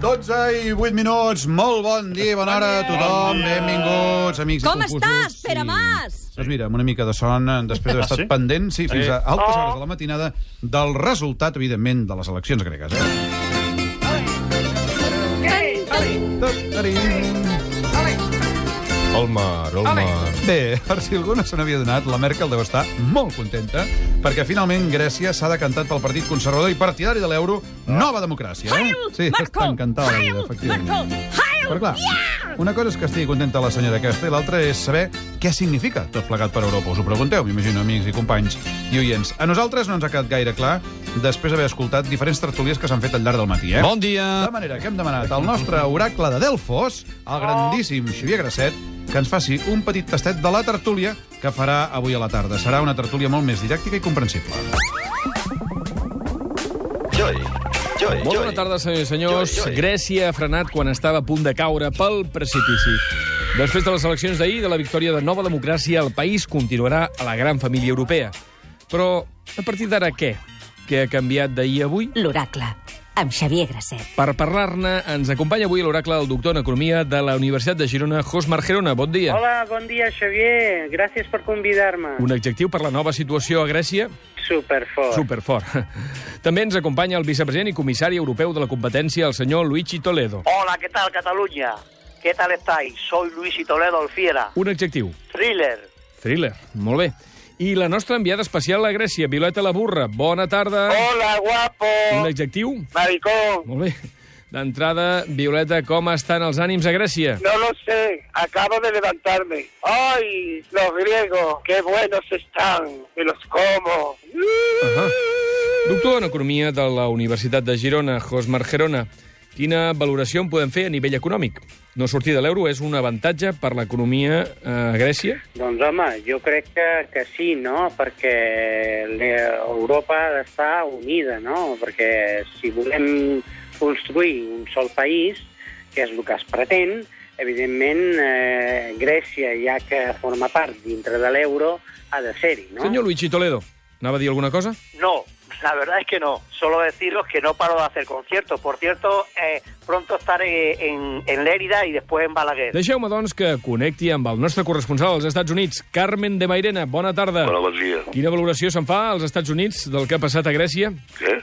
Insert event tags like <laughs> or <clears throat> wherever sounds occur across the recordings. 12 i 8 minuts. Molt bon dia i bona hora a tothom. Benvinguts, amics Com i estàs, confusos. Pere Mas? Doncs mira, amb una mica de son, eh, després d'haver Ah, estat sí? Eh. pendent, sí, fins a altes Oh. hores de la matinada, del resultat, evidentment, de les eleccions gregues. Eh? Tatarín. El mar, el mar. Bé, per si algú no se n'havia donat, la Merkel deu estar molt contenta, perquè finalment Grècia s'ha decantat pel Partit Conservador i partidari de l'euro, Nova Democràcia. Eh? Heil, Sí, està Merkel! encantada, la vida, Heil, efectivament. Merkel! Heil! Però clar, una cosa és que estigui contenta la senyora aquesta i l'altra és saber què significa tot plegat per Europa. Us ho pregunteu, m'imagino, amics i companys i oients. A nosaltres no ens ha quedat gaire clar després d'haver escoltat diferents tertúlies que s'han fet al llarg del matí, eh? Bon dia! De manera que hem demanat al nostre oracle de Delfos, el grandíssim Xavier Grasset, que ens faci un petit tastet de la tertúlia que farà avui a la tarda. Serà una tertúlia molt més didàctica i comprensible. Molt bona tarda, senyors i senyors. Grècia ha frenat quan estava a punt de caure pel precipici. Després de les eleccions d'ahir i de la victòria de Nova Democràcia, el país continuarà a la gran família europea. Però a partir d'ara què? Què ha canviat d'ahir a avui? L'oracle, amb Xavier Grasset. Per parlar-ne, ens acompanya avui l'oracle del doctor en Economia de la Universitat de Girona, Josmar Gerona. Bon dia. Hola, bon dia, Xavier. Gràcies per convidar-me. Un adjectiu per la nova situació a Grècia? Superfort. Superfort. També ens acompanya el vicepresident i comissari europeu de la competència, el senyor Luigi Toledo. Hola, ¿qué tal Cataluña? ¿Qué tal estáis? Soy Luis y Toledo Alfiera. Un adjectiu. Thriller. Thriller, molt bé. I la nostra enviada especial a Grècia, Violeta la Burra. Bona tarda. Hola, guapo. Un adjectiu? Maricón. Molt bé. D'entrada, Violeta, com estan els ànims a Grècia? No lo sé, acabo de levantarme. ¡Ay, los griegos! ¡Qué buenos están! ¡Me los como! Doctor en Economia de la Universitat de Girona, Josmar Gerona. Quina valoració en podem fer a nivell econòmic? No sortir de l'euro és un avantatge per l'economia eh, a Grècia? Doncs home, jo crec que, que sí, no? Perquè l'E- Europa ha d'estar unida, no? Perquè si volem construir un sol país, que és el que es pretén, evidentment eh, Grècia, ja que forma part dintre de l'euro, ha de ser-hi, no? Senyor Luigi Toledo, anava a dir alguna cosa? No, la verdad es que no. Solo deciros que no paro de hacer conciertos. Por cierto, eh, pronto estaré en, en Lérida y después en Balaguer. Deixeu-me, doncs, que connecti amb el nostre corresponsal als Estats Units, Carmen de Mairena. Bona tarda. Hola, bon dia. Quina valoració se'n fa als Estats Units del que ha passat a Grècia? Què?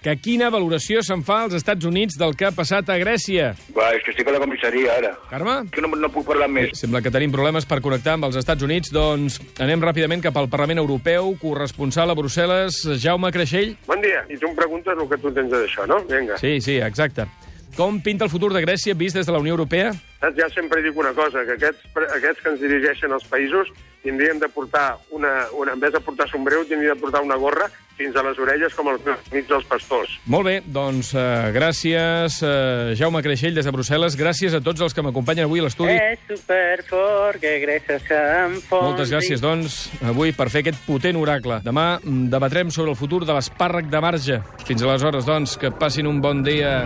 Que quina valoració se'n fa als Estats Units del que ha passat a Grècia? Va, és que estic a la comissaria, ara. Carme? Que no, no puc parlar Bé, més. Sembla que tenim problemes per connectar amb els Estats Units, doncs anem ràpidament cap al Parlament Europeu, corresponsal a Brussel·les, Jaume Creixell. Bon dia. I tu em preguntes el que tu tens d'això, no? Vinga. Sí. Sí, sí, exacte. Com pinta el futur de Grècia vist des de la Unió Europea? Saps, ja sempre dic una cosa, que aquests, pre- aquests que ens dirigeixen als països tindrien de portar una, una... En vez de portar sombreu, tindrien de portar una gorra fins a les orelles com els meus amics dels pastors. Molt bé, doncs eh, gràcies, eh, Jaume Creixell des de Brussel·les. Gràcies a tots els que m'acompanyen avui a l'estudi. És superfort, que Grècia s'enfonsi. Moltes gràcies, doncs, avui per fer aquest potent oracle. Demà mm, debatrem sobre el futur de l'espàrrec de marge. Fins aleshores, doncs, que passin un bon dia.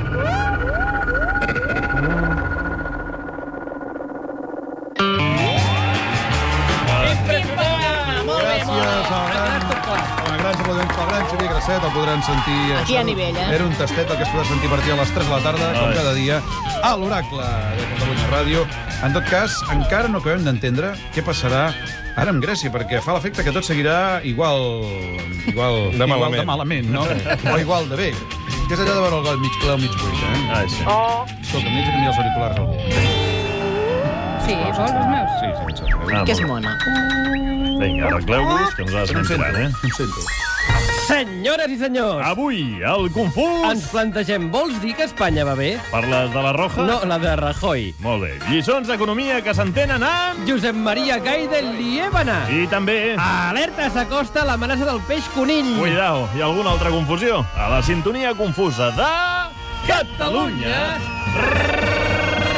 Gràcies al gran... Una gran saludem pel gran Xavier Grasset, el podran sentir... Aquí a nivell, eh? Era un tastet el que es podrà sentir a partir de les 3 de la tarda, com cada dia, a l'Oracle de Catalunya Ràdio. En tot cas, encara no acabem d'entendre què passarà ara amb Grècia, perquè fa l'efecte que tot seguirà igual... Igual De malament. Igual de malament, no? o igual de bé. Que és allò de veure el got mig ple o mig buit, eh? Ah, sí. Oh, Escolta, m'he de canviar els auriculars a algú. Sí, vols els meus? Sí, sí, em sap greu. Ah, Que és mona. Vinga, arregleu-vos, que nosaltres Em anem sento, entrant, eh? em sento. Senyores i senyors, Avui, el confús... ens plantegem, vols dir que Espanya va bé? Parles de la Roja? No, la de Rajoy. Molt bé. Lliçons d'economia que s'entenen amb... Josep Maria Gaide li hem anat. I també... Alerta, s'acosta l'amenaça del peix conill. Cuidao, hi ha alguna altra confusió? A la sintonia confusa de... Catalunya! Perdó, <laughs>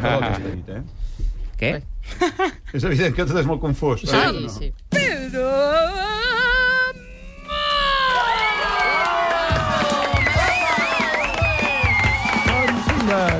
que has dit, eh? Què? És evident que tot és molt confús. Sí, no? sí. <clears throat> Però... Doncs vinga,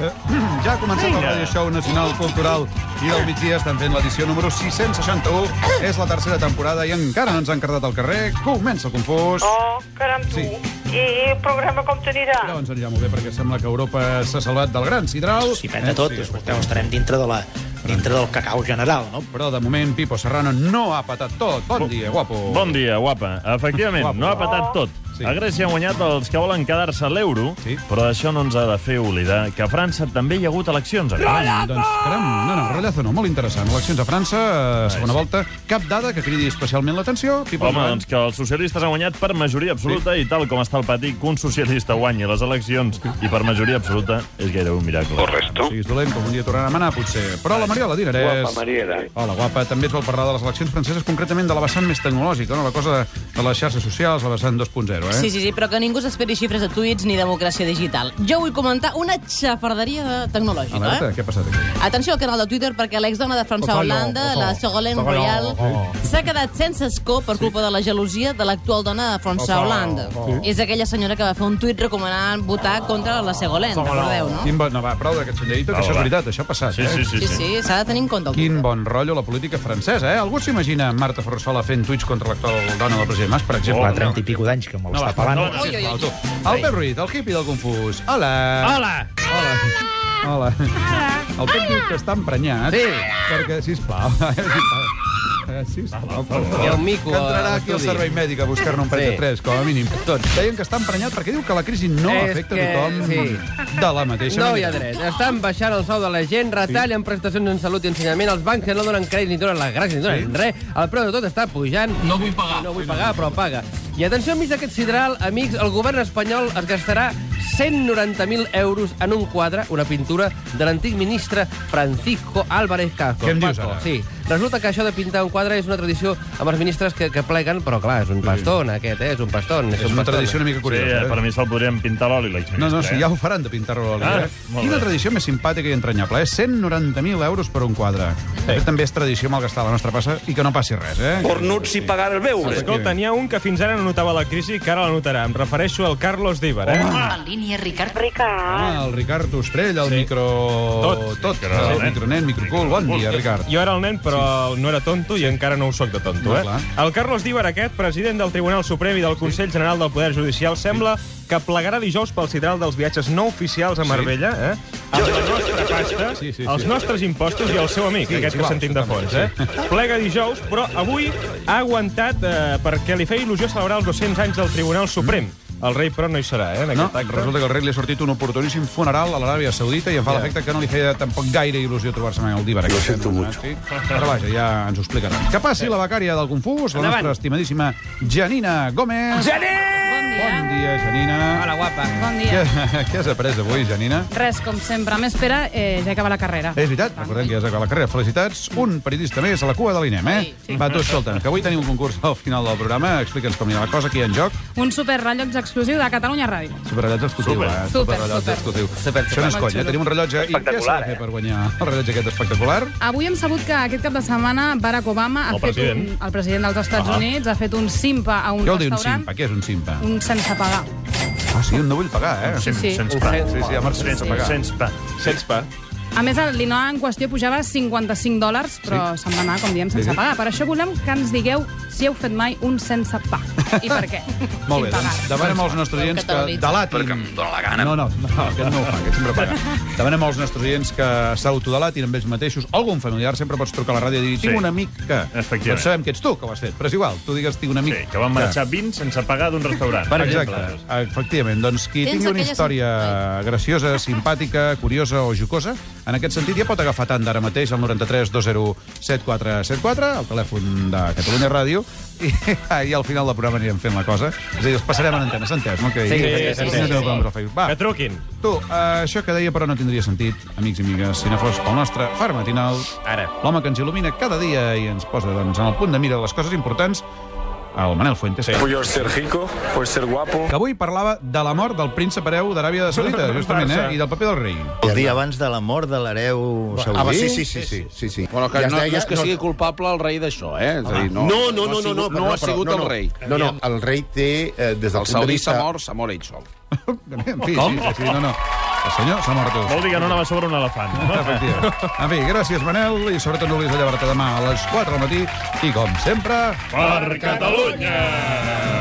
ja ha començat el Radio Show Nacional Cultural i del migdia estan fent l'edició número 661. És la tercera temporada i encara no ens han cardat al carrer. Comença el confús. Oh, caram, tu. Sí. I el programa com t'anirà? Ara ens anirà molt bé perquè sembla que Europa s'ha salvat del gran sidral. Eh, S'hi peta tot, Sí, escolteu, estarem dintre, de la, dintre del cacau general, no? Però de moment Pipo Serrano no ha patat tot. Bon dia, guapo. Bon dia, Oh. guapa. Efectivament, Guapo. no ha patat tot. Sí. A Grècia han guanyat els que volen quedar-se a l'euro, sí. però això no ens ha de fer oblidar que a França també hi ha hagut eleccions. aquest any. Doncs, caram, no, no, rotllazo no, molt interessant. Eleccions a França, eh, segona volta, cap dada que cridi especialment l'atenció. Pipo, Home, endavant. doncs que els socialistes han guanyat per majoria absoluta sí. i tal com està el pati, que un socialista guanyi les eleccions i per majoria absoluta és gairebé un miracle. Correcto. No siguis dolent, com un dia tornarà a manar, potser. Però la Mariola Dinarès... Guapa, Mariela. Hola, guapa. També es vol parlar de les eleccions franceses, concretament de la vessant més tecnològica, no? la cosa de, de les xarxes socials, la vessant 2.0, eh? Sí, sí, sí, però que ningú s'esperi xifres a tuits ni democràcia digital. Jo vull comentar una xafarderia de- tecnològica, Alerta, eh? què ha passat aquí? Atenció al canal de Twitter perquè l'exdona de França Ojalá, a Holanda, ojalá. la Ségolène Ojalá, Royal, ojalá. s'ha quedat sense escó per culpa de la gelosia de l'actual dona de França a Ojalá, Holanda. ojalà. És aquella senyora que va fer un tuit recomanant votar contra la Ségolène, recordeu, no? Quin bon... No, va, prou d'aquest senyorito, que Va, això és va. veritat, això ha passat, Sí, eh? sí, Sí, sí, s'ha de tenir en compte. el Quin bon rotllo la política francesa, eh? Algú s'imagina Marta Ferrusola fent tuits contra l'actual dona del president Mas, per exemple? Fa 30 i pico d'anys que me l'està parlant. perdona, sisplau, tu. El Pep Ruiz, el hippie del confús. Hola. Hola. Hola. Hola. El Pep diu que està emprenyat. Sí. Perquè, sisplau... <laughs> Eh, Sisplau, per favor. Hi ha un mico que entrarà a aquí al l'estudi. servei mèdic a buscar-ne un parell Sí. de tres, com a mínim. Tots. Deien que està emprenyat perquè diu que la crisi no És afecta que- tothom sí. de la mateixa No hi ha manera. dret. Eh, Estan baixant el sou de la gent, retallen prestacions en salut i ensenyament, els bancs que no donen crèdit ni donen les gràcies, ni donen Sí. res, el preu de tot està pujant. No vull pagar. No vull pagar, però paga. I atenció, enmig d'aquest sidral, amics, el govern espanyol es gastarà 190.000 euros en un quadre, una pintura, de l'antic ministre Francisco Álvarez Casco. Què em dius, Paco, ara? Sí. Resulta que això de pintar un quadre és una tradició amb els ministres que, que pleguen, però clar, és un pastón, aquest, eh? És un pastón. És, un És una pastón. tradició una mica curiosa, Sí, eh? per mi se'l podríem pintar l'oli, l'exministre. No, no, eh? sí, ja ho faran de pintar-ho a l'oli. Ah, Ah, eh? molt Quina bé. tradició més simpàtica i entranyable, eh? 190.000 euros per un quadre. Sí. També és tradició malgastar la nostra passa i que no passi res, eh? Cornuts i pagar el beure. Escolta, n'hi ha un que fins ara no notava la crisi i que ara la notarà. Em refereixo al Carlos Díbar, eh? Home. En línia, Ricard. Ricard. Ah, el Ricard Ostrell, el sí. micro... Tot. Tot. El micronen, microcool. Bon dia, Ricard. Jo era el nen, però sí. no era tonto i encara no ho sóc de tonto. No, eh? clar. El Carlos Díbar, aquest, president del Tribunal Suprem i del Consell General del Poder Judicial, sembla que plegarà dijous pel sidral dels viatges no oficials a Marbella, eh? Amb la nostra pasta, els nostres impostos i el seu amic, Sí, aquest que igual, sentim de fons, eh? Plega dijous, però avui ha aguantat eh, perquè li feia il·lusió celebrar els 200 anys del Tribunal Suprem. El rei, però, no hi serà, eh, en No, aquest acte. resulta que al rei li ha sortit un oportuníssim funeral a l'Aràbia Saudita i em fa Ja. l'efecte que no li feia tampoc gaire il·lusió trobar-se amb el eh? Díbar. Lo sento mucho. Doncs, Però vaja, ja ens ho explicaran. Que passi la becària del Confús, la Endavant. nostra estimadíssima Janina Gómez. Bon dia, Janina. Hola, guapa. Bon dia. Què, <laughs> què has après avui, Janina? Res, com sempre. A més, Pere, eh, ja acaba la carrera. És veritat, recordem que ja has acabat la carrera. Felicitats, un periodista més a la cua de l'INEM, eh? Sí. Va, tu, escolta, que avui tenim un concurs al final del programa. Explica'ns com anirà la cosa, qui hi ha en joc. Un superrellotge exclusiu de Catalunya Ràdio. Superrellotge exclusiu, Super. eh? Super, Superrellotge super. exclusiu. Això no és Molt conya, xulo. tenim un rellotge. I què s'ha de fer per guanyar el rellotge aquest espectacular? Avui hem sabut que aquest cap de setmana Barack Obama ha El fet president. un, el president dels Estats Ah. Units ha fet un simpa a un Què vol dir un restaurant simpa? Què és un simpa? un sense pagar. Ah, sí, un no vull pagar, eh? Un sim- Sí, sí. sense pa. pa. Sí, sí, amb el Sense sense pa. pagar. Sense pa. Sense pa. A més, el dinar en qüestió pujava 55 dòlars, però se'n va anar, com diem, sense Sí. pagar. Per això volem que ens digueu si heu fet mai un sense pa. I per què? <laughs> Molt bé, doncs demanem als nostres oients que delatin... Perquè em dóna la gana. No, no, no, aquest no ho fa, aquest sempre paga. Demanem als nostres oients que s'autodelatin amb ells mateixos. Algun familiar sempre pots trucar a la ràdio i dir tinc Sí. un amic que... Efectivament. Doncs sabem que ets tu que ho has fet, però és igual, tu digues tinc un amic... Sí, que van marxar 20 sense pagar d'un restaurant. Per Exacte, efectivament. Doncs qui Tens tingui una aquella història graciosa, simpàtica, curiosa o jocosa, en aquest sentit ja pot agafar tant d'ara mateix al 93 201 7474, el telèfon de Catalunya Ràdio, i, <laughs> i al final del programa anirem fent la cosa. És a dir, els passarem en antena, s'entès? No? Que, Sí, sí, sí, no sí, teniu sí. problemes al Facebook. Va. Que truquin. Tu, eh, això que deia però no tindria sentit, amics i amigues, si no fos pel nostre far matinal, Ara. l'home que ens il·lumina cada dia i ens posa doncs, en el punt de mira de les coses importants, el Manel Fuentes. Puyo ser rico, puyo ser guapo. que avui parlava de la mort del príncep hereu d'Aràbia <laughs> Saudita, justament, eh? i del paper del rei. El dia abans de la mort de l'hereu saudí. Ah, va, sí, sí, sí, sí. sí, sí. Bueno, que Ja es no, deia- no és que no- sigui culpable el rei d'això, eh? És a dir, no, No, no, no, no, no, no, però- no, ha però- sigut no, el no. rei. No, no, el rei té, eh, des del punt de saudí vista- <laughs> s'ha mort, s'ha mort ell sol. En fi, sí, sí, sí, no, no. El senyor s'ha mort. Vol dir que no anava sobre un elefant. No? Efectivament. En fi, gràcies, Manel, i sobretot no oblidis de llevar-te demà a les 4 del matí i, com sempre... Per Catalunya!